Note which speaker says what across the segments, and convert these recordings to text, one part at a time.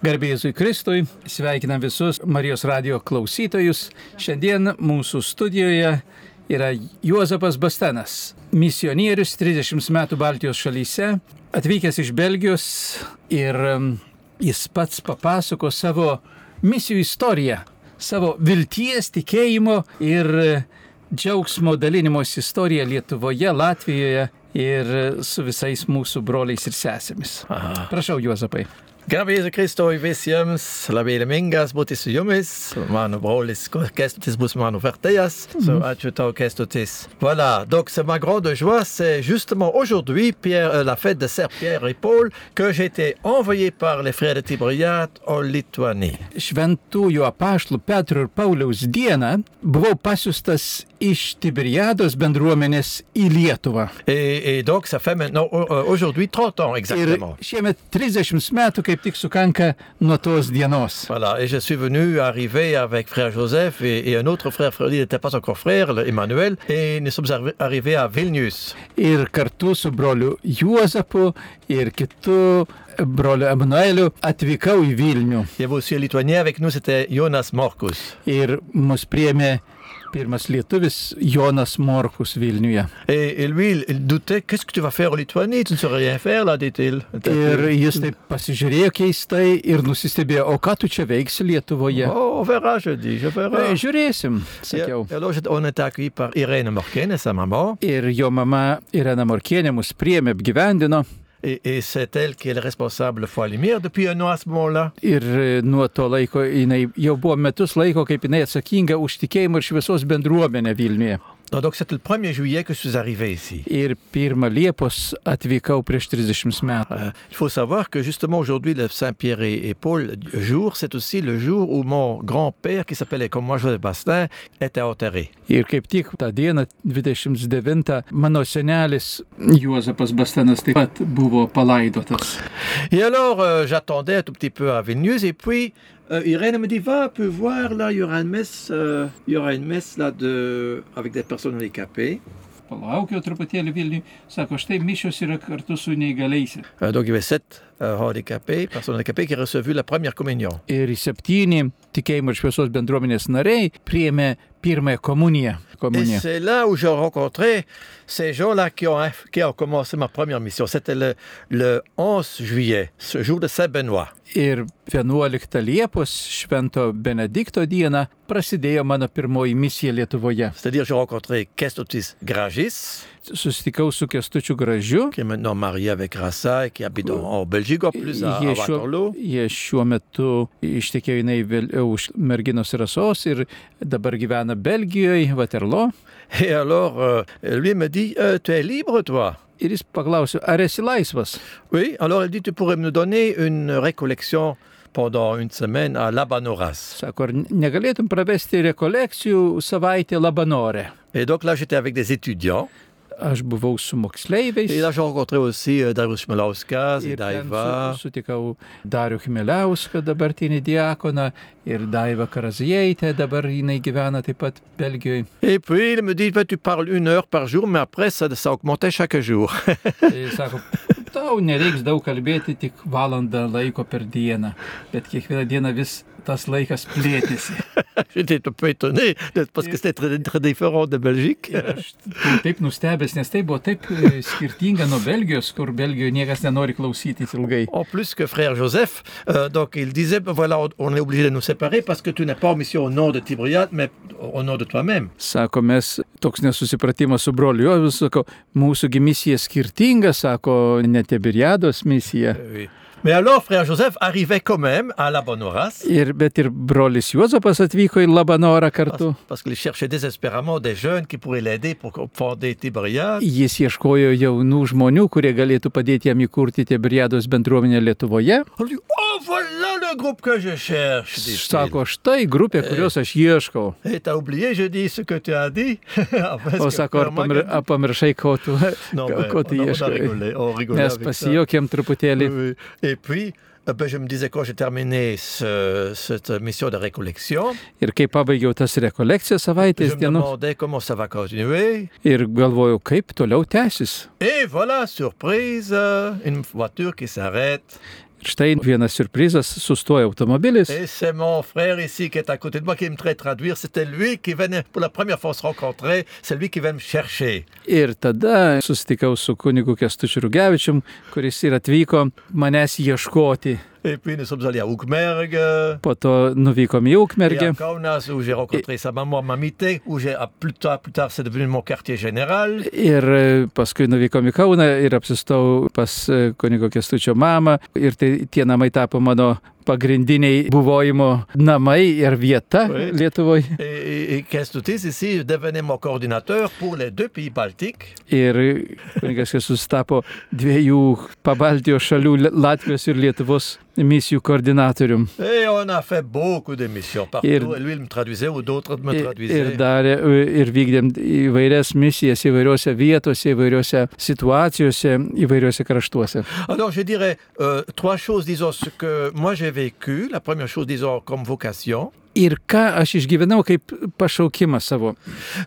Speaker 1: Garbėzui Kristui, sveikinam visus Marijos radio klausytojus. Šiandien mūsų studijoje yra Juozapas Bastenas, misionierius 30 metų Baltijos šalyse, atvykęs iš Belgijos ir um, jis pats papasako savo misijų istoriją, savo vilties, tikėjimo ir e, džiaugsmo dalinimos istoriją Lietuvoje, Latvijoje ir e, su visais mūsų broliais ir sesėmis. Prašau, Juozapai.
Speaker 2: Gab Jesu Christoi visiems, labele mingas, būtis su jumis, mano brolis, kestutis bus mano vertėjas, so ačiū tau kestutis. Voilà, donc c'est ma grande joie, c'est justement aujourd'hui, Pierre, euh, la fête de Saint Pierre et Paul, que j'ai été envoyé par les frères de Tibriade en Lituanie.
Speaker 1: Šventųjų apaštlų Petro ir Pauliaus dieną buvau pasiustas iš Tiberiados bendruomenės į Lietuvą.
Speaker 2: Et, et donc ça fait maintenant euh, aujourd'hui 30 ans
Speaker 1: Ir
Speaker 2: exactement.
Speaker 1: šiemet 30 metų kaip tik sukanka nuo tos dienos.
Speaker 2: Voilà, et je suis venu arriver avec frère Joseph et, et un autre frère, frère, il n'était pas encore frère, le Emmanuel, et nous sommes arri- arrivés à Vilnius.
Speaker 1: Ir kartu su broliu Juozapu ir kitu broliu Emanueliu atvykau į Vilnių.
Speaker 2: Il y avait aussi un Lituanien avec nous, c'était Jonas Morkus.
Speaker 1: Ir mus priemė pirmas lietuvis Jonas Morkus Vilniuje.
Speaker 2: Et, et lui, il, il doutait, qu'est-ce que tu vas faire en Lituanie Tu ne saurais rien faire là, dit-il.
Speaker 1: Ir jis taip pasižiūrėjo keistai ir nusistebėjo, o ką tu čia veiksi Lietuvoje?
Speaker 2: Oh, on verra, je dis, je verrai.
Speaker 1: Na, žiūrėsim,
Speaker 2: Et-
Speaker 1: sakiau.
Speaker 2: et alors, j'étais- on était accueillis par Irène Morken et sa maman,
Speaker 1: Ir jo mama Irena Morkienė mus priemė, apgyvendino.
Speaker 2: et, et c'est elle qui est le responsable de Foi Lumière depuis un an à ce moment-là.
Speaker 1: Ir e, nuo to laiko jinai jau buvo metus laiko, kaip jinai atsakinga už tikėjimą ir šviesos bendruomenę Vilniuje.
Speaker 2: Donc, donc, c'était le 1er juillet que je suis arrivé ici.
Speaker 1: Ir pirmą Liepos atvykau prieš 30 metų.
Speaker 2: Euh, Il faut savoir que justement aujourd'hui, le Saint-Pierre et, et Paul euh, jour, c'est aussi le jour où mon grand-père, qui s'appelait comme moi Joseph Bastin, était enterré.
Speaker 1: Ir kaip tik tą dieną, 29, mano senelis Juozapas Bastanas taip pat buvo palaidotas.
Speaker 2: Et alors, euh, j'attendais un tout petit peu à Vilnius, et puis euh, Irène me dit Va, peux voir, là, il y aura une messe, euh, il y aura une messe là, de... avec des personnes handicapées.
Speaker 1: Palaukiau truputėlį Vilniui, sako, štai mišios yra kartu su neįgaliais.
Speaker 2: Euh, donc, il y avait sept euh, handicapés, personnes handicapées qui ont reçu la première communion.
Speaker 1: Ir septyni tikėjimo ir šviesos bendruomenės nariai priėmė pirmąją komuniją.
Speaker 2: Et
Speaker 1: komuniją.
Speaker 2: c'est là où j'ai rencontré ces gens-là qui ont, qui ont commencé ma première mission. C'était le, le 11 juillet, ce jour de Saint-Benoît.
Speaker 1: Ir 11 Liepos Švento Benedikto dieną prasidėjo mano pirmoji misija Lietuvoje.
Speaker 2: C'est-à-dire, j'ai rencontré Kestotis Gragis,
Speaker 1: Susitikau su Kestučiu Gražiu.
Speaker 2: qui est maintenant marié avec Rassa et qui habite en, en Belgique en plus, à, à
Speaker 1: Jie šiuo,
Speaker 2: Waterloo.
Speaker 1: jie šiuo metu ištekėjo jinai vėliau už merginos rasos ir dabar gyvena Belgijoje, Vaterlo.
Speaker 2: Et alors, euh, lui me dit, Euh, tu es libre, toi
Speaker 1: Ir jis paklausė, ar esi laisvas?
Speaker 2: Oui, alors il dit, tu pourrais me donner une récollection pendant une semaine à Labanoras.
Speaker 1: Sako, ar negalėtum pravesti rekolekcijų savaitę Labanore?
Speaker 2: Et donc là, j'étais avec des étudiants.
Speaker 1: Aš buvau su moksleiviais.
Speaker 2: Et là, j'ai rencontré aussi euh, Darius Malauskas et
Speaker 1: Ir ten
Speaker 2: Daiva.
Speaker 1: su, sutikau Dariu Chmeliauską, dabartinį diakoną, ir Daivą Karazijėtę, dabar jinai gyvena taip pat Belgijoje.
Speaker 2: Et puis, il me dit, Ben, tu parles une heure par jour, mais après, ça, ça augmentait chaque jour.
Speaker 1: Tai sako, tau nereiks daug kalbėti, tik valandą laiko per dieną, bet kiekvieną dieną vis tas laikas plėtėsi.
Speaker 2: j'étais un peu étonné, parce que c'était très, très différent de Belgique.
Speaker 1: Ir aš buvau taip nustebęs, nes tai buvo taip e, skirtinga nuo Belgijos, kur Belgijoje niekas nenori klausytis ilgai.
Speaker 2: En plus que frère Joseph, euh, donc il disait, ben voilà, on, on est obligé de nous séparer parce que tu n'es pas en mission au nom de Tibriade, mais au nom de toi-même.
Speaker 1: Sako, mes toks nesusipratimas su broliu, jo, vis sako, mūsų gi misija skirtinga, sako, netebiriados misija.
Speaker 2: Mais alors, frère Joseph arrivait quand même à la bonne horace
Speaker 1: Ir, bet ir brolis Juozapas atvyko į Labanorą
Speaker 2: parce,
Speaker 1: kartu.
Speaker 2: parce qu'il cherchait désespérément des jeunes qui pourraient l'aider pour fonder Tibriade.
Speaker 1: Jis ieškojo jaunų žmonių, kurie galėtų padėti jam įkurti Tebriados bendruomenę Lietuvoje.
Speaker 2: On lui dit, oh voilà le groupe que je cherche. dit-il.
Speaker 1: Sako, štai grupė, kurios aš ieškau.
Speaker 2: Et t'as oublié, je dis ce que tu as dit. Ah, Parce
Speaker 1: O
Speaker 2: que
Speaker 1: sako, ar
Speaker 2: clairement,
Speaker 1: pamir, a, pamiršai, ko tu,
Speaker 2: Non,
Speaker 1: ko,
Speaker 2: mais
Speaker 1: ko
Speaker 2: on,
Speaker 1: tu
Speaker 2: on a
Speaker 1: ieškai.
Speaker 2: rigolé, on rigolait
Speaker 1: Mes
Speaker 2: avec ça.
Speaker 1: pasijokėm truputėlį.
Speaker 2: Oui, oui. Et puis, euh, ben, je me disais quand j'ai terminé ce- cette mission de récollection,
Speaker 1: Ir kai pabaigiau tas rekolekcijas
Speaker 2: je
Speaker 1: savaitės
Speaker 2: me
Speaker 1: dienų
Speaker 2: demandais comment ça va continuer.
Speaker 1: ir galvojau, kaip toliau tęsis.
Speaker 2: Et voilà, surprise, euh, une voiture qui s'arrête.
Speaker 1: Ir štai vienas surprizas, sustoja automobilis.
Speaker 2: Et c'est mon frère ici qui est à côté de moi qui me traite traduire. C'était lui qui venait pour la première fois se rencontrer. C'est lui qui venait me chercher.
Speaker 1: Ir tada susitikau su kunigu Kestučiu Rugevičium, kuris ir atvyko manęs ieškoti.
Speaker 2: Et puis nous sommes allés à Oukmerg, euh,
Speaker 1: Po to nuvykom į
Speaker 2: et à
Speaker 1: Ukmergę.
Speaker 2: Kaunas, où j'ai rencontré sa maman Mamité, où j'ai, à plus tard, plus tard, c'est devenu mon quartier général.
Speaker 1: Ir e, paskui nuvykom į Kauną ir apsistau pas e, kunigo Kestučio mamą. Ir tai, tie namai tapo mano pagrindiniai buvojimo namai ir vieta
Speaker 2: Taip.
Speaker 1: Lietuvoje.
Speaker 2: Et, et, et Kestutis, ici, je devenais mon coordinateur pour les deux pays baltiques.
Speaker 1: Ir kunigas Kestus tapo dviejų Pabaltijos šalių - Latvijos ir Lietuvos misijų koordinatorium.
Speaker 2: Et on a fait beaucoup d'émissions partout.
Speaker 1: Et-
Speaker 2: Et lui, il me traduisait ou d'autres me
Speaker 1: Ir, ir
Speaker 2: traduisaient.
Speaker 1: darė, ir vykdėm įvairias misijas įvairiose vietose, įvairiose situacijose, įvairiose kraštuose.
Speaker 2: Alors, Ah je dirais euh, trois choses, disons, ce que moi j'ai vécu. La première chose, disons, comme vocation.
Speaker 1: Ir ką aš išgyvenau kaip pašaukimą savo.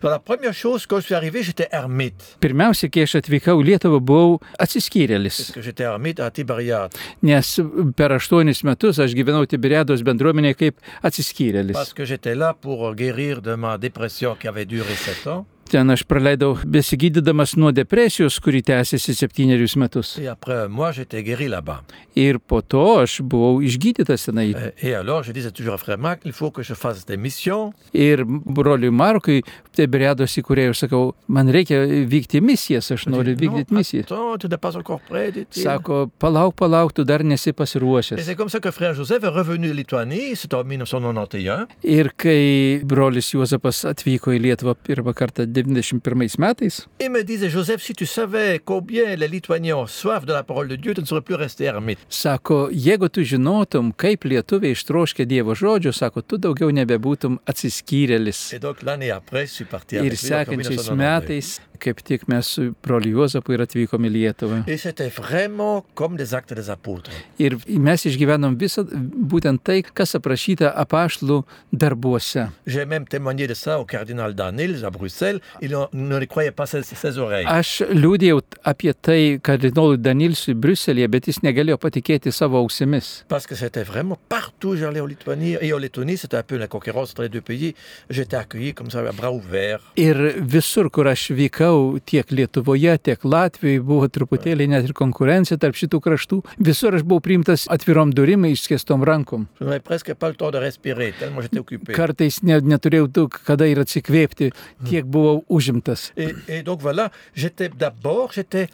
Speaker 2: Alors, la première chose, quand je suis arrivé, j'étais ermite.
Speaker 1: Pirmiausia, kai aš atvykau į Lietuvą, buvau atsiskyrėlis,
Speaker 2: Parce que j'étais ermite à Tibériade.
Speaker 1: nes per aštuonis metus aš gyvenau Tiberiados bendruomenėje kaip atsiskyrėlis.
Speaker 2: Parce que j'étais là pour guérir de ma dépression qui avait duré sept ans.
Speaker 1: Ten aš praleidau besigydydamas nuo depresijos, kuri tęsiasi septynerius metus.
Speaker 2: Et après un mois, j'étais guéri là-bas.
Speaker 1: Ir po to aš buvau išgydytas tenai.
Speaker 2: Euh, Et alors, je disais toujours à Frère Marc, il faut que je fasse des missions.
Speaker 1: Ir broliui Markui, tai beriados įkūrėjai, aš sakau, man reikia vykti į misijas, aš
Speaker 2: Je
Speaker 1: noriu
Speaker 2: dis, non,
Speaker 1: vykdyti misijas.
Speaker 2: attends, tu n'es pas encore prêt, dit-il.
Speaker 1: Sako, palauk, palauk, tu dar nesi
Speaker 2: Et
Speaker 1: pasiruošęs.
Speaker 2: c'est comme ça que Frère Joseph est revenu de Lituanie, c'était en 1991.
Speaker 1: Ir kai brolis Juozapas atvyko į Lietuvą pirmą kartą 91 metais,
Speaker 2: Il me disait, Joseph, si tu savais combien les Lituaniens ont soif de la parole de Dieu, tu ne serais plus resté ermite.
Speaker 1: sako, jeigu tu žinotum, kaip lietuviai ištroškė Dievo žodžio, sako, tu daugiau nebebūtum atsiskyrėlis.
Speaker 2: Et donc l'année après, je suis parti
Speaker 1: Ir
Speaker 2: avec lui, donc en
Speaker 1: sekančiais
Speaker 2: 1992.
Speaker 1: metais, kaip tik mes su broliu Juozapu ir atvykome į Lietuvą.
Speaker 2: Et c'était vraiment comme des actes des apôtres.
Speaker 1: Ir mes išgyvenom visą būtent tai, kas aprašyta apaštlų darbuose.
Speaker 2: J'ai même témoigné de ça au cardinal Danils à Bruxelles. Il en- ne les croyait pas ses, ses oreilles.
Speaker 1: Aš liūdėjau apie tai kardinolui Danilsui Briuselėje, bet jis negalėjo patikėti savo ausimis.
Speaker 2: Parce que c'était vraiment partout où j'allais en Lituanie. Et en Lettonie, c'était un peu la concurrence entre les deux pays. J'étais accueilli comme ça, à bras ouverts.
Speaker 1: Ir visur, kur aš vykau, tiek Lietuvoje, tiek Latvijoje, buvo truputėlį net ir konkurencija tarp šitų kraštų. Visur aš buvau priimtas atvirom durim, išskėstom rankom.
Speaker 2: Je n'avais presque pas le temps de respirer, tellement j'étais occupé.
Speaker 1: Kartais ne, neturėjau daug kada ir atsikvėpti, tiek buvau užimtas.
Speaker 2: Et, et donc voilà, j'étais d'abord, j'étais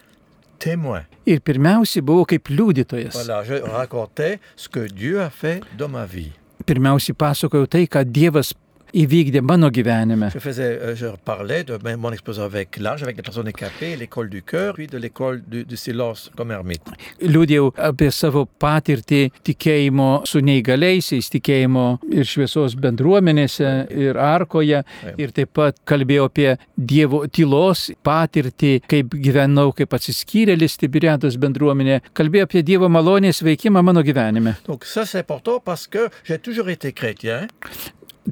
Speaker 2: témoin.
Speaker 1: Ir pirmiausiai buvau kaip liudytojas.
Speaker 2: Voilà, je racontais ce que Dieu a fait dans ma vie.
Speaker 1: pirmiausiai pasakojau tai, ką Dievas įvykdė mano gyvenime.
Speaker 2: Je faisais, euh, je parlais de mes- mon expérience avec l'âge, avec les personnes handicapées, l'école du cœur, puis de l'école du, du silence comme ermite.
Speaker 1: Liūdėjau apie savo patirtį tikėjimo su neįgaliaisiais, tikėjimo ir šviesos bendruomenėse, ir arkoje, ir taip pat kalbėjau apie Dievo tylos patirtį, kaip gyvenau, kaip atsiskyrėlis Tibiriados bendruomenė, kalbėjau apie Dievo malonės veikimą mano gyvenime.
Speaker 2: Donc ça c'est important parce que j'ai toujours été chrétien,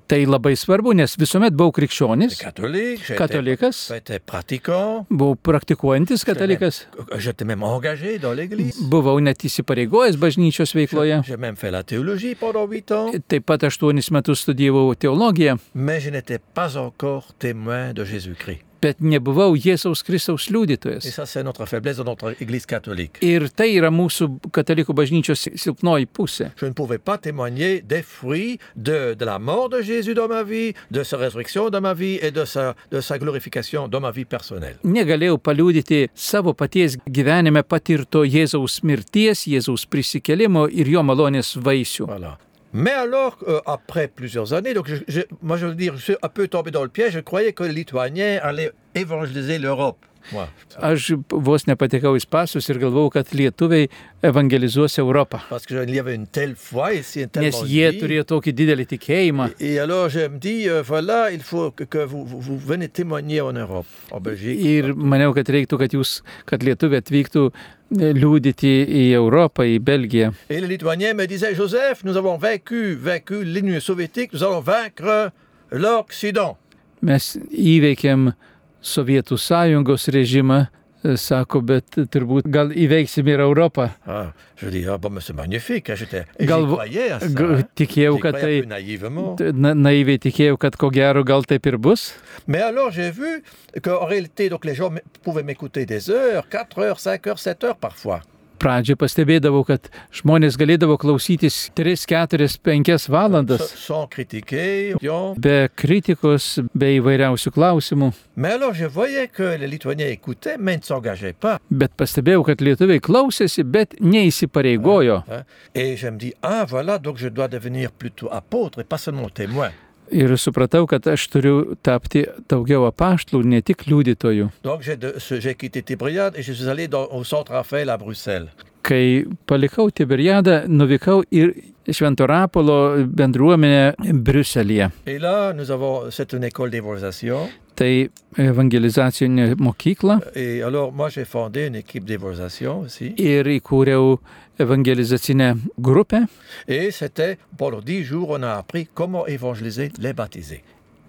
Speaker 1: Tai labai svarbu, nes visuomet buvau krikščionis,
Speaker 2: catholique, j'ai été-
Speaker 1: katalikas,
Speaker 2: j'étais pratiquant,
Speaker 1: buvau praktikuojantis katalikas,
Speaker 2: j'étais même engagé dans l'église.
Speaker 1: buvau net įsipareigojęs bažnyčios veikloje.
Speaker 2: J'ai même fait la théologie pendant huit ans,
Speaker 1: Taip pat aštuonis metus studijavau teologiją,
Speaker 2: mais je n'étais pas encore témoin de Jésus-Christ.
Speaker 1: bet nebuvau Jėzaus Kristaus
Speaker 2: Et
Speaker 1: liudytojas.
Speaker 2: ça, c'est notre faiblesse dans notre Église catholique.
Speaker 1: Ir tai yra mūsų katalikų bažnyčios silpnoji pusė.
Speaker 2: Je ne pouvais pas témoigner des fruits de, de la mort de Jésus dans ma vie, de sa résurrection dans ma vie et de sa, de sa glorification dans ma vie personnelle.
Speaker 1: Negalėjau paliūdyti savo paties gyvenime patirto Jėzaus mirties, Jėzaus prisikelimo ir jo malonės vaisių.
Speaker 2: Voilà. Mais alors, euh, après plusieurs années, donc je- je- moi je veux dire, je suis un peu tombé dans le piège, je croyais que les Lituaniens allaient évangéliser l'Europe. Moi.
Speaker 1: Aš vos nepatekau į pasus ir galvojau, kad lietuviai evangelizuos Europą,
Speaker 2: Parce qu'il y avait une telle foi ici, une telle
Speaker 1: nes jie turėjo tokį didelį tikėjimą.
Speaker 2: Et alors je me dis, euh, voilà, il faut que, que vous, vous, vous venez témoigner en Europe, en Belgique.
Speaker 1: Ir maniau, kad reiktų, kad jūs, kad lietuviai atvyktų e, liūdyti į Europą, į Belgiją.
Speaker 2: Et les Lituaniens me disaient, Joseph, nous avons vaincu, vaincu l'Union soviétique, nous allons vaincre l'Occident.
Speaker 1: Mes įveikėm Sovietų sąjungos režimą, e, sako, bet turbūt gal įveiksim ir Europą.
Speaker 2: Ah, je dis, ah bon, mais c'est magnifique. hein, J'étais, et j'y
Speaker 1: Galvo-
Speaker 2: croyais à ça.
Speaker 1: G-
Speaker 2: hein.
Speaker 1: Tikėjau,
Speaker 2: J'y
Speaker 1: kad
Speaker 2: croyais
Speaker 1: tai
Speaker 2: un peu naïvement.
Speaker 1: na, naiviai tikėjau, kad ko gero gal taip ir bus.
Speaker 2: Mais alors, j'ai vu qu'en réalité, donc, les gens m- pouvaient m'écouter des heures, 4 heures, 5 heures, 7 heures parfois.
Speaker 1: Pradžioje pastebėdavau, kad žmonės galėdavo klausytis 3, 4, 5
Speaker 2: Sa-
Speaker 1: valandas
Speaker 2: Sans critiquer. rien.
Speaker 1: be kritikos, be įvairiausių klausimų.
Speaker 2: Mais alors, je voyais que les Lituaniens écoutaient, mais ils ne s'engageaient pas.
Speaker 1: Bet pastebėjau, kad lietuviai klausėsi, bet neįsipareigojo.
Speaker 2: hein. Et je me dis, ah voilà, donc je dois devenir plutôt apôtre et pas seulement témoin.
Speaker 1: Ir supratau, kad aš turiu tapti daugiau apaštlų, ne tik liudytojų.
Speaker 2: Donc j'ai de- ce- j'ai quitté Tibriade et je suis allé dans- au centre Raphaël à Bruxelles.
Speaker 1: Kai palikau Tiberiadą, nuvykau ir Švento Rapolo bendruomenę Briuselėje.
Speaker 2: Et là, nous avons, c'est une école d'évangélisation.
Speaker 1: Tai evangelizacinė mokykla
Speaker 2: Et alors, moi, j'ai fondé une équipe d'évangélisation aussi.
Speaker 1: ir įkūriau evangelizacinę grupę.
Speaker 2: Et c'était pendant dix jours, on a appris comment évangéliser les baptisés.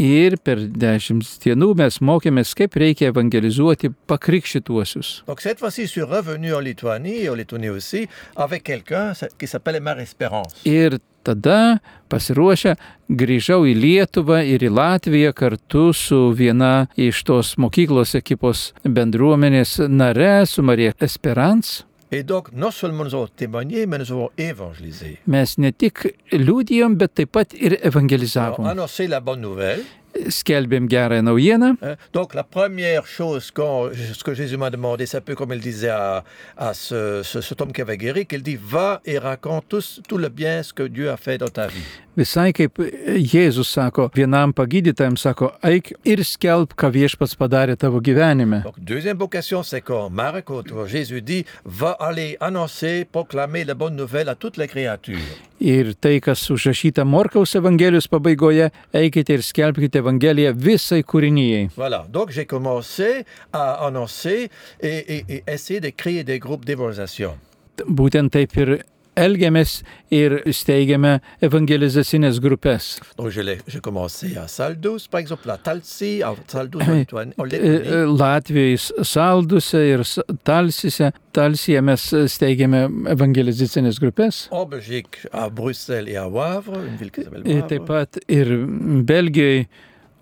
Speaker 1: Ir per dešimt dienų mes mokėmės, kaip reikia evangelizuoti pakrikščituosius.
Speaker 2: Donc cette fois-ci, je suis revenu en Lituanie et en Lettonie aussi avec quelqu'un qui s'appelle Mère Espérance.
Speaker 1: Ir tada pasiruošę grįžau į Lietuvą ir į Latviją kartu su viena iš tos mokyklos ekipos bendruomenės nare, su Marija Esperans.
Speaker 2: Et donc, non seulement nous avons témoigné, mais nous avons évangélisé.
Speaker 1: Mes ne tik liūdijom, bet taip pat ir
Speaker 2: Alors,
Speaker 1: evangelizavom.
Speaker 2: annoncer la bonne nouvelle.
Speaker 1: Skelbėm gerąją naujieną.
Speaker 2: hein. Donc, la première chose qu'on- ce que Jésus m'a demandé, c'est un peu comme il disait à, à ce, ce- cet homme qui avait guéri, qu'il dit Va et raconte tous- tout le bien ce que Dieu a fait dans ta vie.
Speaker 1: Visai kaip Jėzus sako, vienam pagydytojam sako, eik ir skelb, ką viešpats padarė tavo gyvenime.
Speaker 2: Donc, deuxième vocation, c'est quand Marc, quand Jésus dit Va aller annoncer, proclamer la bonne nouvelle à toutes les créatures.
Speaker 1: Ir tai, kas užrašyta Morkaus Evangelijos pabaigoje, eikite ir skelbkite Evangeliją visai kūrinyjei.
Speaker 2: Voilà, donc j'ai commencé à annoncer et, et- et essayer de créer des groupes d'évangélisation.
Speaker 1: Būtent taip ir elgiamės ir steigiame evangelizacinės grupės.
Speaker 2: Donc je l'ai- j'ai commencé à Saldus, par exemple, à Talsi, à Saldus en
Speaker 1: Oui.
Speaker 2: Lituanie- en
Speaker 1: E, e,
Speaker 2: Lettonie.
Speaker 1: Latvijoj S- salduse ir S- talsise, talsyje mes steigiame evangelizacinės grupės.
Speaker 2: En Belgique, à Bruxelles et à Wavre, une ville qui s'appelle
Speaker 1: Ir
Speaker 2: Wavre.
Speaker 1: E, taip pat ir Belgijoje,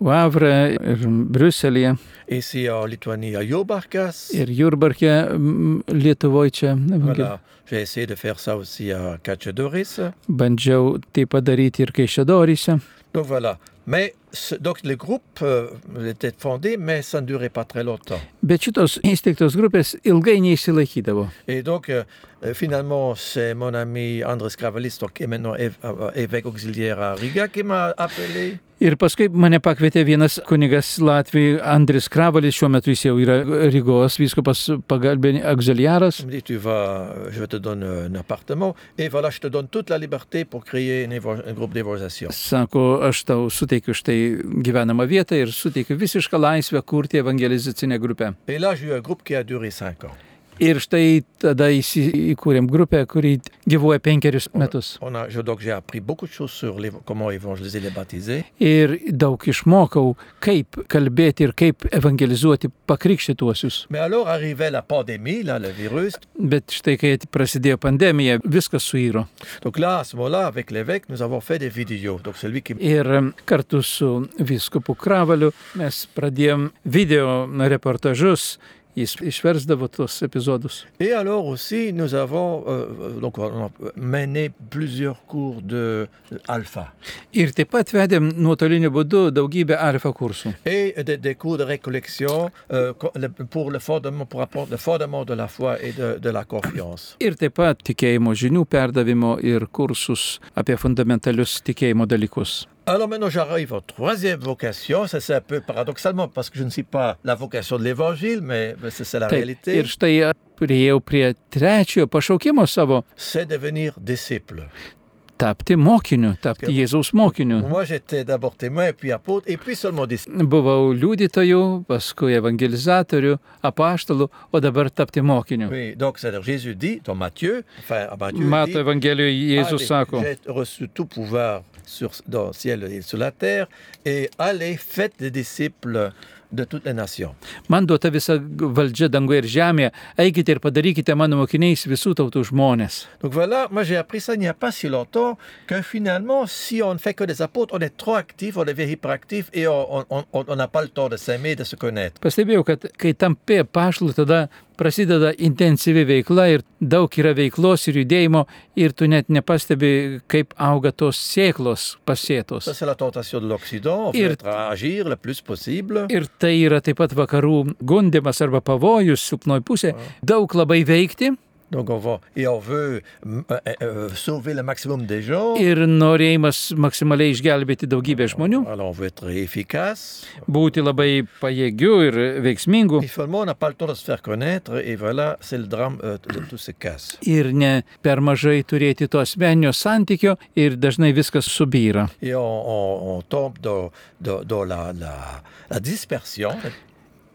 Speaker 1: Vavre ir Briuselėje,
Speaker 2: Ici en Lituanie, à Jobarkas.
Speaker 1: ir Jurbarke, m, Lietuvoje čia. evangel-
Speaker 2: Voilà, j'ai essayé de faire ça aussi à Kachadoris.
Speaker 1: Bandžiau tai padaryti ir Kaišėdoryse.
Speaker 2: Donc voilà. Mais ce- donc le groupe euh, était fondé, mais ça ne durait pas très longtemps.
Speaker 1: Bet šitos įsteigtos grupės ilgai neišsilaikydavo.
Speaker 2: Et donc, euh, euh, finalement, c'est mon ami Andrés Kravalis, donc, qui est maintenant év- euh, évêque auxiliaire à Riga, qui m'a appelé.
Speaker 1: Ir paskui mane pakvietė vienas kunigas Latvijai, Andris Kravalis, šiuo metu jis jau yra Rygos vyskupas pagalbinis auxiliaras.
Speaker 2: Il me dit, tu vas, euh, je te donne euh, un appartement, et voilà, je te donne toute la liberté pour créer une évo- un groupe d'évangélisation.
Speaker 1: Sako, aš tau suteikiu štai gyvenamą vietą ir suteikiu visišką laisvę kurti evangelizacinę grupę.
Speaker 2: Et là, j'ai eu un groupe qui a duré cinq ans.
Speaker 1: Ir štai tada įsi- įkūrėm grupę, kuri gyvuoja penkerius metus.
Speaker 2: On a, je- donc, j'ai appris beaucoup de choses sur l'évo- comment évangéliser les baptisés.
Speaker 1: Ir daug išmokau, kaip kalbėti ir kaip evangelizuoti pakrikščituosius.
Speaker 2: Mais alors arrivait la pandémie, là, le virus.
Speaker 1: Bet štai kai prasidėjo pandemija, viskas suiro.
Speaker 2: Donc là, à ce moment-là, avec l'évêque, nous avons fait des vidéos. Donc celui qui
Speaker 1: Ir kartu su viskupu Kravaliu mes pradėjom video reportažus, jis išversdavo tuos epizodus.
Speaker 2: Et alors aussi, nous avons euh, donc on a mené plusieurs cours de de alpha
Speaker 1: Ir taip pat vedėm nuotoliniu būdu daugybę alfa kursų.
Speaker 2: et des, des cours de récollection euh, co- le- pour le fondement, pour apprendre le fondement de la foi et de, de la confiance.
Speaker 1: Ir taip pat tikėjimo žinių perdavimo ir kursus apie fundamentalius tikėjimo dalykus.
Speaker 2: Alors maintenant, j'arrive aux troisième vocation. Ça, c'est un peu paradoxalement parce que je ne suis pas la vocation de l'évangile, mais, mais c'est c'est la
Speaker 1: Taip,
Speaker 2: réalité.
Speaker 1: ir štai prieėjau prie trečiojo pašaukimo savo
Speaker 2: C'est devenir disciple.
Speaker 1: - tapti mokiniu, tapti Jėzaus mokiniu.
Speaker 2: Moi, j'étais d'abord témoin, puis apôtre, et puis seulement disciple.
Speaker 1: Buvau liudytoju, paskui evangelizatoriu, apaštalu, o dabar tapti mokiniu.
Speaker 2: Oui, donc c'est-à-dire Jésus dit dans Matthieu, enfin à Matthieu, il dit,
Speaker 1: Mato Evangelijoje Jėzus
Speaker 2: Allez,
Speaker 1: sako,
Speaker 2: J'ai reçu tout pouvoir sur, dans le ciel et sur la terre, et allez, faites des disciples de toutes les nations.
Speaker 1: Man duota visa valdžia danguje ir žemėje. Eikite ir padarykite mano mokiniais visų tautų žmonės.
Speaker 2: Donc voilà, moi j'ai appris ça il n'y a pas si longtemps que finalement, si on ne fait que des apôtres, on est trop actif, on est hyperactif et on on- on- on n'a pas le temps de s'aimer, de se connaître.
Speaker 1: Pastebėjau, kad kai tampi pašlu, tada prasideda intensyvi veikla ir daug yra veiklos ir judėjimo ir tu net nepastebi, kaip auga tos sėklos
Speaker 2: Ça,
Speaker 1: pasėtos.
Speaker 2: c'est la tentation de l'Occident. On
Speaker 1: Et-
Speaker 2: veut être à agir le plus possible.
Speaker 1: Ir tai yra taip pat vakarų gundimas arba pavojus silpnoji pusė. Daug labai veikti
Speaker 2: Donc on va, et on veut mm, euh, euh, sauver le maximum des gens.
Speaker 1: ir norėjimas maksimaliai išgelbėti daugybę žmonių,
Speaker 2: Alors on veut être efficace.
Speaker 1: būti labai pajėgiu ir veiksmingu.
Speaker 2: Et finalement, on n'a pas le temps de se faire connaître. Et voilà, c'est le drame euh, de tout se casse.
Speaker 1: Ir ne per mažai turėti to asmeninio santykio ir dažnai viskas subyra.
Speaker 2: Et on, on- on tombe dans, dans- dans la, la- la dispersion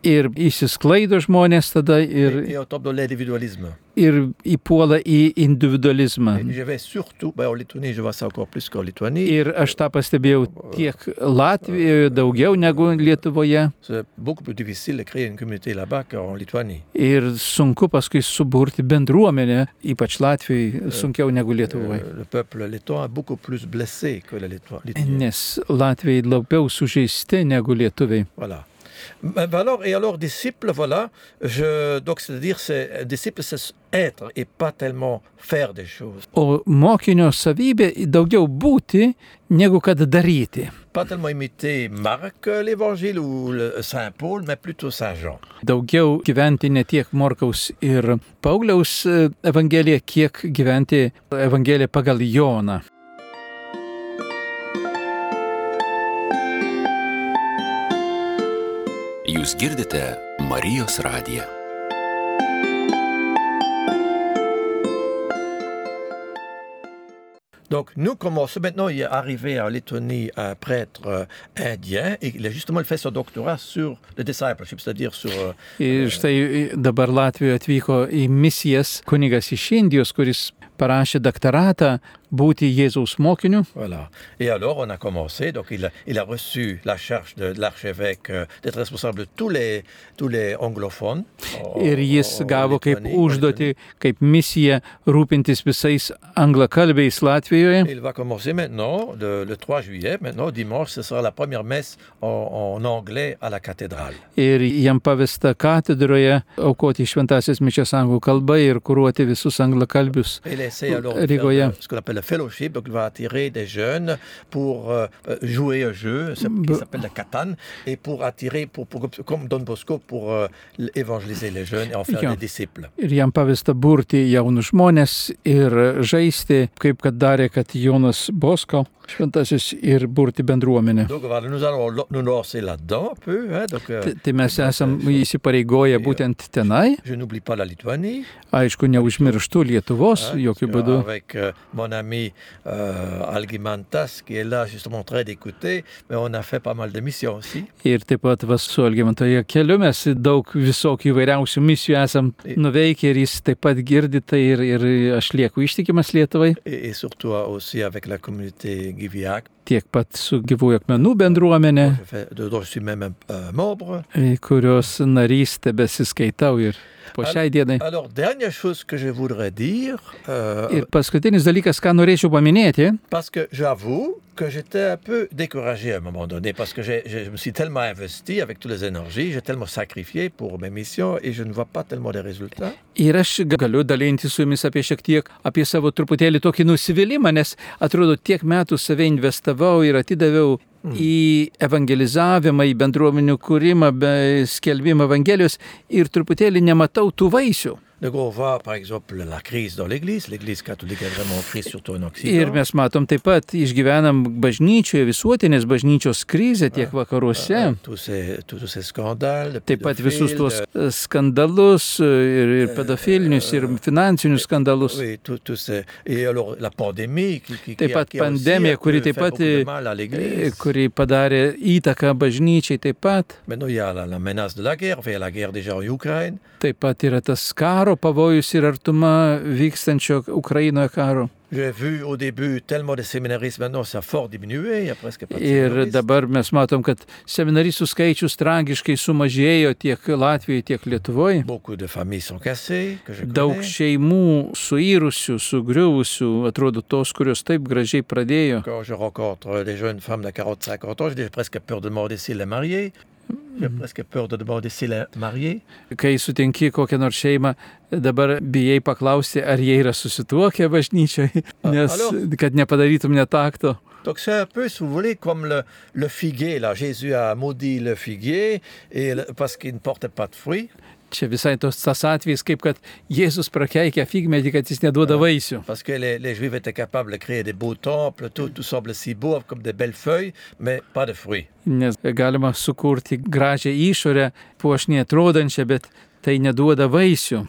Speaker 1: Ir įsisklaido žmonės tada ir,
Speaker 2: et on tombe dans l'individualisme.
Speaker 1: ir įpuola į individualizmą.
Speaker 2: Et Je vais surtout, ben, en Lituanie, je vois ça encore plus qu'en Lituanie,
Speaker 1: Ir aš tą pastebėjau tiek Latvijoje, daugiau negu Lietuvoje.
Speaker 2: c'est beaucoup plus difficile de créer une communauté là-bas qu'en Lituanie.
Speaker 1: Ir sunku paskui suburti bendruomenę, ypač Latvijai, sunkiau negu Lietuvoje.
Speaker 2: Euh, le peuple letton est beaucoup plus blessé que les Lituaniens.
Speaker 1: Nes Latvijai labiau sužeisti negu lietuviai.
Speaker 2: Voilà. Ben, ben alors, et alors, disciple, voilà, je, donc c'est-à-dire, c'est, disciple, c'est être et pas tellement faire des choses.
Speaker 1: O mokinio savybė daugiau būti negu kad daryti.
Speaker 2: Pas tellement imiter Marc, euh, l'évangile ou le- Saint Paul, mais plutôt Saint Jean.
Speaker 1: Daugiau gyventi ne tiek Morkaus ir Pauliaus e, Evangelija, kiek gyventi Evangeliją pagal Joną.
Speaker 3: Jūs girdite Marijos radiją.
Speaker 2: Donc, nous commençons maintenant, il est arrivé en Lettonie un prêtre euh, indien, et il a justement il fait son doctorat sur le discipleship, c'est-à-dire sur euh,
Speaker 1: Ir štai dabar Latvijoje atvyko į misijas kunigas iš Indijos, kuris parašė doktoratą būti Jėzaus mokiniu.
Speaker 2: Voilà. Et alors, on a commencé. Donc, il a, il a reçu la charge de, de l'archevêque euh, d'être responsable de tous les, tous les anglophones. en-
Speaker 1: Ir jis
Speaker 2: en- en
Speaker 1: gavo kaip
Speaker 2: Lituanie, en Lituanie.
Speaker 1: užduotį, kaip misiją rūpintis visais anglakalbiais Latvijoje.
Speaker 2: Il va commencer maintenant, de- le 3 juillet. Maintenant, dimanche, ce sera la première messe en, en anglais à la cathédrale.
Speaker 1: Ir jam pavesta katedroje aukoti šventasias mišias anglų kalba ir kuruoti visus anglakalbius.
Speaker 2: Il essaie alors de
Speaker 1: Euh,
Speaker 2: faire
Speaker 1: Rigoyen.
Speaker 2: de- ce qu'on appelle le fellowship, donc il va attirer des jeunes pour euh, euh, jouer un jeu c'est- qui s'appelle la catane, et pour attirer, pour, pour- comme Don Bosco, pour euh, évangéliser les jeunes et en faire
Speaker 1: Yeah.
Speaker 2: des disciples.
Speaker 1: Ir jam pavesta burti jaunus žmonės ir žaisti, kaip kad darė, kad Jonas Bosko šventasis ir burti bendruomenę.
Speaker 2: Donc voilà, nous allons lo- nous lancer là-dedans un peu. hein, donc, euh,
Speaker 1: Tai tai mes esame įsipareigoję būtent tenai.
Speaker 2: je n'oublie pas la Lituanie.
Speaker 1: Aišku, neužmirštu Lietuvos
Speaker 2: hein,
Speaker 1: jokių
Speaker 2: parce que
Speaker 1: būdų.
Speaker 2: Avec euh, mon ami euh, Algimantas qui est là justement en train d'écouter, mais on a fait pas mal de missions aussi.
Speaker 1: Ir taip pat vas su Algimantoje keliu mes daug visokių įvairiausių misijų esam nuveikę ir jis taip pat girdi tai ir, ir aš lieku ištikimas Lietuvai,
Speaker 2: Et, et surtout euh, aussi avec la communauté Giviac,
Speaker 1: tiek pat su gyvųjų akmenų bendruomenė,
Speaker 2: je fais- de- dont je suis même un- un membre.
Speaker 1: į kurios narys tebesiskaitau ir po šiai dienai.
Speaker 2: Alors, dernière chose que je voudrais dire, euh,
Speaker 1: Ir paskutinis dalykas, ką norėčiau paminėti,
Speaker 2: parce que j'avoue que j'étais un peu découragé à un moment donné, parce que j'ai- j'ai- je me suis tellement investi avec toutes les énergies, j'ai tellement sacrifié pour mes missions et je ne vois pas tellement de résultats.
Speaker 1: ir aš ga- galiu dalinti su jumis apie šiek tiek, apie savo truputėlį tokį nusivylimą, nes atrodo tiek metų save investavau ir atidaviau į evangelizavimą, į bendruomenių kūrimą, bei skelbimą Evangelijos ir truputėlį nematau tų vaisių.
Speaker 2: Donc on voit par exemple la crise dans l'Église, l'Église catholique est vraiment en crise, surtout en
Speaker 1: Ir
Speaker 2: Occident.
Speaker 1: mes matom taip pat išgyvenam bažnyčioje, visuotinės bažnyčios krizę tiek vakaruose.
Speaker 2: Euh, Tous ces, tous tous ces scandales. de
Speaker 1: Taip pat visus
Speaker 2: pédophiles, euh,
Speaker 1: tuos
Speaker 2: de-
Speaker 1: e, skandalus e, ir, ir pedofilinius, ir finansinius skandalus.
Speaker 2: Oui, tout, tout ces- et alors la pandémie qui, qui,
Speaker 1: Taip
Speaker 2: qui
Speaker 1: pat
Speaker 2: qui a aussi
Speaker 1: pandemija,
Speaker 2: un
Speaker 1: kuri
Speaker 2: peu
Speaker 1: taip
Speaker 2: fait
Speaker 1: pat,
Speaker 2: beaucoup de
Speaker 1: e,
Speaker 2: mal à
Speaker 1: e,
Speaker 2: l'Église.
Speaker 1: kuri padarė įtaką bažnyčiai taip pat.
Speaker 2: Maintenant, il y a la, la menace de la guerre, enfin, il y a la guerre déjà en Ukraine.
Speaker 1: Taip pat yra tas karo pavojus ir artuma vykstančio Ukrainoje karo.
Speaker 2: J'ai vu au début tellement de séminaristes, maintenant ça a fort diminué, il n'y a presque pas de
Speaker 1: Ir
Speaker 2: séminaristes.
Speaker 1: dabar mes matom, kad seminaristų skaičius tragiškai sumažėjo tiek Latvijoje, tiek Lietuvoje.
Speaker 2: Beaucoup de familles sont cassées, que je
Speaker 1: Daug
Speaker 2: connais.
Speaker 1: šeimų suirusių, sugriuvusių, atrodo tos, kurios taip gražiai pradėjo.
Speaker 2: Quand je rencontre des jeunes femmes de 40-50 ans, je dis, j'ai presque peur de demander s'il est marié. J'ai presque peur de demander s'il est marié.
Speaker 1: Kai sutinki kokią nors šeimą, dabar bijai paklausti, ar jie yra susituokę bažnyčioje,
Speaker 2: A-
Speaker 1: nes
Speaker 2: alors?
Speaker 1: kad nepadarytum netakto.
Speaker 2: Donc c'est un peu, si vous voulez, comme le, le figuier. Là, Jésus a maudit le figuier et le- parce qu'il ne portait pas de fruits.
Speaker 1: Čia visai tos tas atvejis, kaip kad Jėzus prakeikia figmedį, kad jis neduoda vaisių.
Speaker 2: Parce que les, les Juifs étaient capables de créer des beaux temples, tout, tout semble si beau, comme des belles feuilles, mais pas de fruits.
Speaker 1: Nes galima sukurti gražią išorę, puošniai atrodančią, bet tai neduoda vaisių.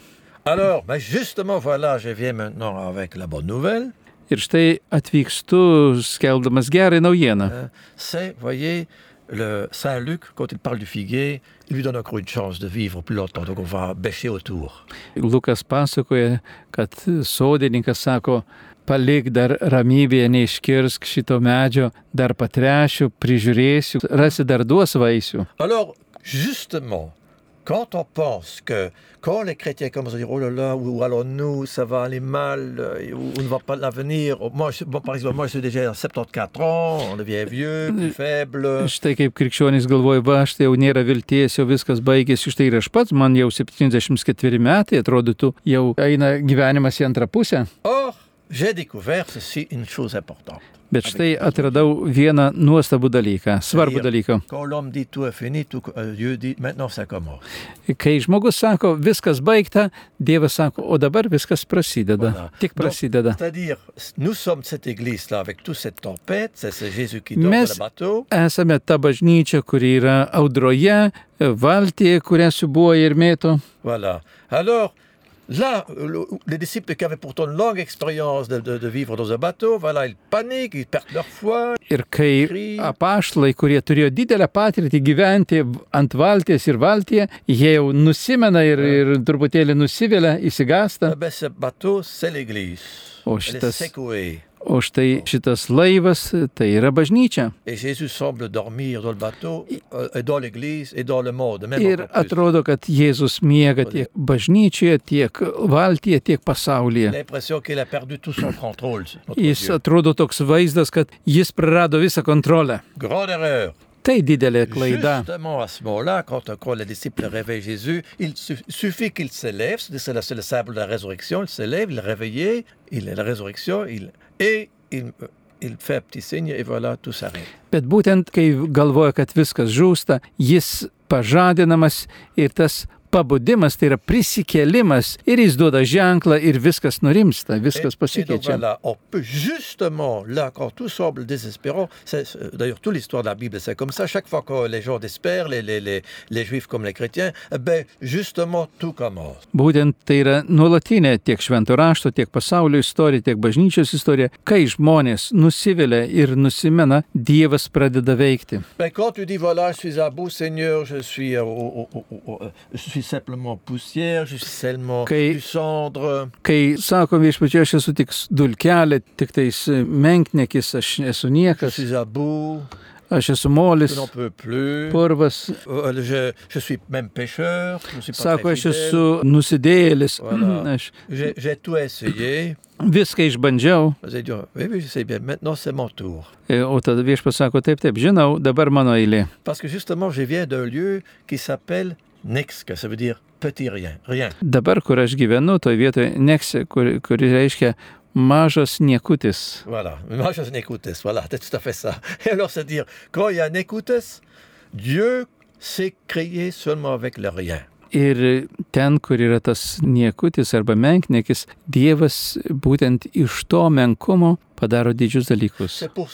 Speaker 2: Alors, ben justement, voilà, je viens maintenant avec la bonne nouvelle.
Speaker 1: Ir štai atvykstu, skeldamas gerą naujieną.
Speaker 2: Euh, C'est, voyez, le Saint Luc, quand il parle du figuier, il lui donne encore une chance de vivre plus longtemps. Donc on va bêcher autour.
Speaker 1: Lukas pasakoja, kad sodininkas sako, palik dar ramybėje, neiškirsk šito medžio, dar patrešiu, prižiūrėsiu, rasi dar duos vaisių.
Speaker 2: Alors, justement, quand on pense que, quand les chrétiens commencent à dire, oh là là, où allons-nous, ça va aller mal, euh, où on ne va pas l'avenir. Moi, je- bon, par exemple, moi, je suis déjà à 74 ans, on devient vieux, plus faible.
Speaker 1: Štai kaip krikščionys galvoja, va, štai jau nėra vilties, jau viskas baigėsi, štai ir aš pats, man jau 74 metai, atrodytų, jau eina gyvenimas į antrą pusę.
Speaker 2: Or, j'ai découvert ceci, une chose importante.
Speaker 1: Bet štai atradau vieną nuostabų dalyką, svarbų dalyką.
Speaker 2: Quand l'homme dit tout est fini, tout, euh, Dieu dit maintenant ça commence.
Speaker 1: Kai žmogus sako, viskas baigta, Dievas sako, o dabar viskas prasideda. Tik prasideda.
Speaker 2: C'est-à-dire, nous sommes cette église-là avec toute cette tempête, c'est c'est Jésus qui dort
Speaker 1: Mais-
Speaker 2: dans le bateau.
Speaker 1: Esame ta bažnyčia, kuri yra audroje, valtyje, kurią siubuoja ir mėto.
Speaker 2: Voilà. Alors, là, le- les disciples qui avaient pourtant une longue expérience de, de- de vivre dans un bateau, voilà, ils paniquent, ils perdent leur foi.
Speaker 1: Ir kai apaštlai, kurie turėjo didelę patirtį gyventi ant valties ir valtyje, jie jau nusimena ir, ir truputėlį nusivelia,
Speaker 2: Eh
Speaker 1: įsigasta.
Speaker 2: ben, ce bateau, c'est l'église.
Speaker 1: Oh,
Speaker 2: Elle
Speaker 1: c'est-
Speaker 2: est secouée.
Speaker 1: O štai šitas laivas, tai yra bažnyčia.
Speaker 2: Et Jésus semble dormir dans le bateau, euh, et dans l'église et dans le monde. Même
Speaker 1: Ir
Speaker 2: encore plus.
Speaker 1: atrodo, kad Jėzus miega tiek bažnyčioje, tiek valtyje, tiek pasaulyje.
Speaker 2: L'impression qu'il a perdu tout son contrôle. notre
Speaker 1: Jis
Speaker 2: Dieu.
Speaker 1: atrodo toks vaizdas, kad jis prarado visą kontrolę.
Speaker 2: Grande erreur.
Speaker 1: Tai didelė klaida.
Speaker 2: Justement, à ce moment-là, quand, quand les disciples réveillent Jésus, il su- suffit qu'il s'élève, c'est la- c'est le symbole de la résurrection, il s'élève, il est réveillé, il est la résurrection, il, et il, euh, il fait un petit signe, et voilà, tout s'arrête.
Speaker 1: Bet būtent, kai galvoja, kad viskas žūsta, jis pažadinamas ir tas pabudimas, tai yra prisikėlimas ir jis duoda ženklą ir viskas nurimsta,
Speaker 2: Et,
Speaker 1: viskas
Speaker 2: et donc
Speaker 1: pasikeičia.
Speaker 2: voilà, on peut justement, là, quand tout semble désespérant, c'est- c'est- d'ailleurs, toute l'histoire de la Bible, c'est comme ça, chaque fois que les gens désespèrent, les, les, les, les juifs comme les chrétiens, eh ben, justement, tout commence.
Speaker 1: Būtent tai yra nuolatinė tiek šventų rašto, tiek pasaulio istorija, tiek bažnyčios istorija, kai žmonės nusivilia ir nusimena, Dievas pradeda veikti.
Speaker 2: Mais Ben, quand tu dis voilà, je suis à bout, Seigneur, je suis, euh, au- au- au- au- euh, je suis simplement poussière, je suis seulement
Speaker 1: Que-
Speaker 2: du cendre.
Speaker 1: Kai sakom viešpačiu, aš esu tik dulkelė, tik tais menknekis, aš esu
Speaker 2: Je
Speaker 1: niekas,
Speaker 2: suis à bout,
Speaker 1: aš esu
Speaker 2: je
Speaker 1: molis,
Speaker 2: n'en peux plus.
Speaker 1: purvas,
Speaker 2: Euh, Je, je suis même pêcheur, je suis pas
Speaker 1: Sako,
Speaker 2: très
Speaker 1: aš
Speaker 2: fidèle.
Speaker 1: esu nusidėjėlis, Mhm,
Speaker 2: Voilà.
Speaker 1: aš
Speaker 2: J'ai j'ai tout essayé.
Speaker 1: viską išbandžiau,
Speaker 2: Vous allez dire, oui, oui, je sais bien, maintenant c'est mon tour.
Speaker 1: E, o tada viešpas sako, taip, taip, žinau, dabar mano eilė.
Speaker 2: Parce que justement, je viens d'un lieu qui s'appelle Nexque, ça veut dire petit rien, rien.
Speaker 1: Dabar, kur aš gyvenu, toje vietoje Neksė, kuri, kuri reiškia mažas niekutis.
Speaker 2: Voilà, moi je suis un écoutesse, voilà, c'est tout à fait ça. Et alors c'est dire, quand il y a un écoutesse, Dieu s'est créé seulement avec le rien.
Speaker 1: Ir ten, kur yra tas niekutis arba menknekis, Dievas būtent iš to menkumo padaro didžius dalykus.
Speaker 2: C'est pour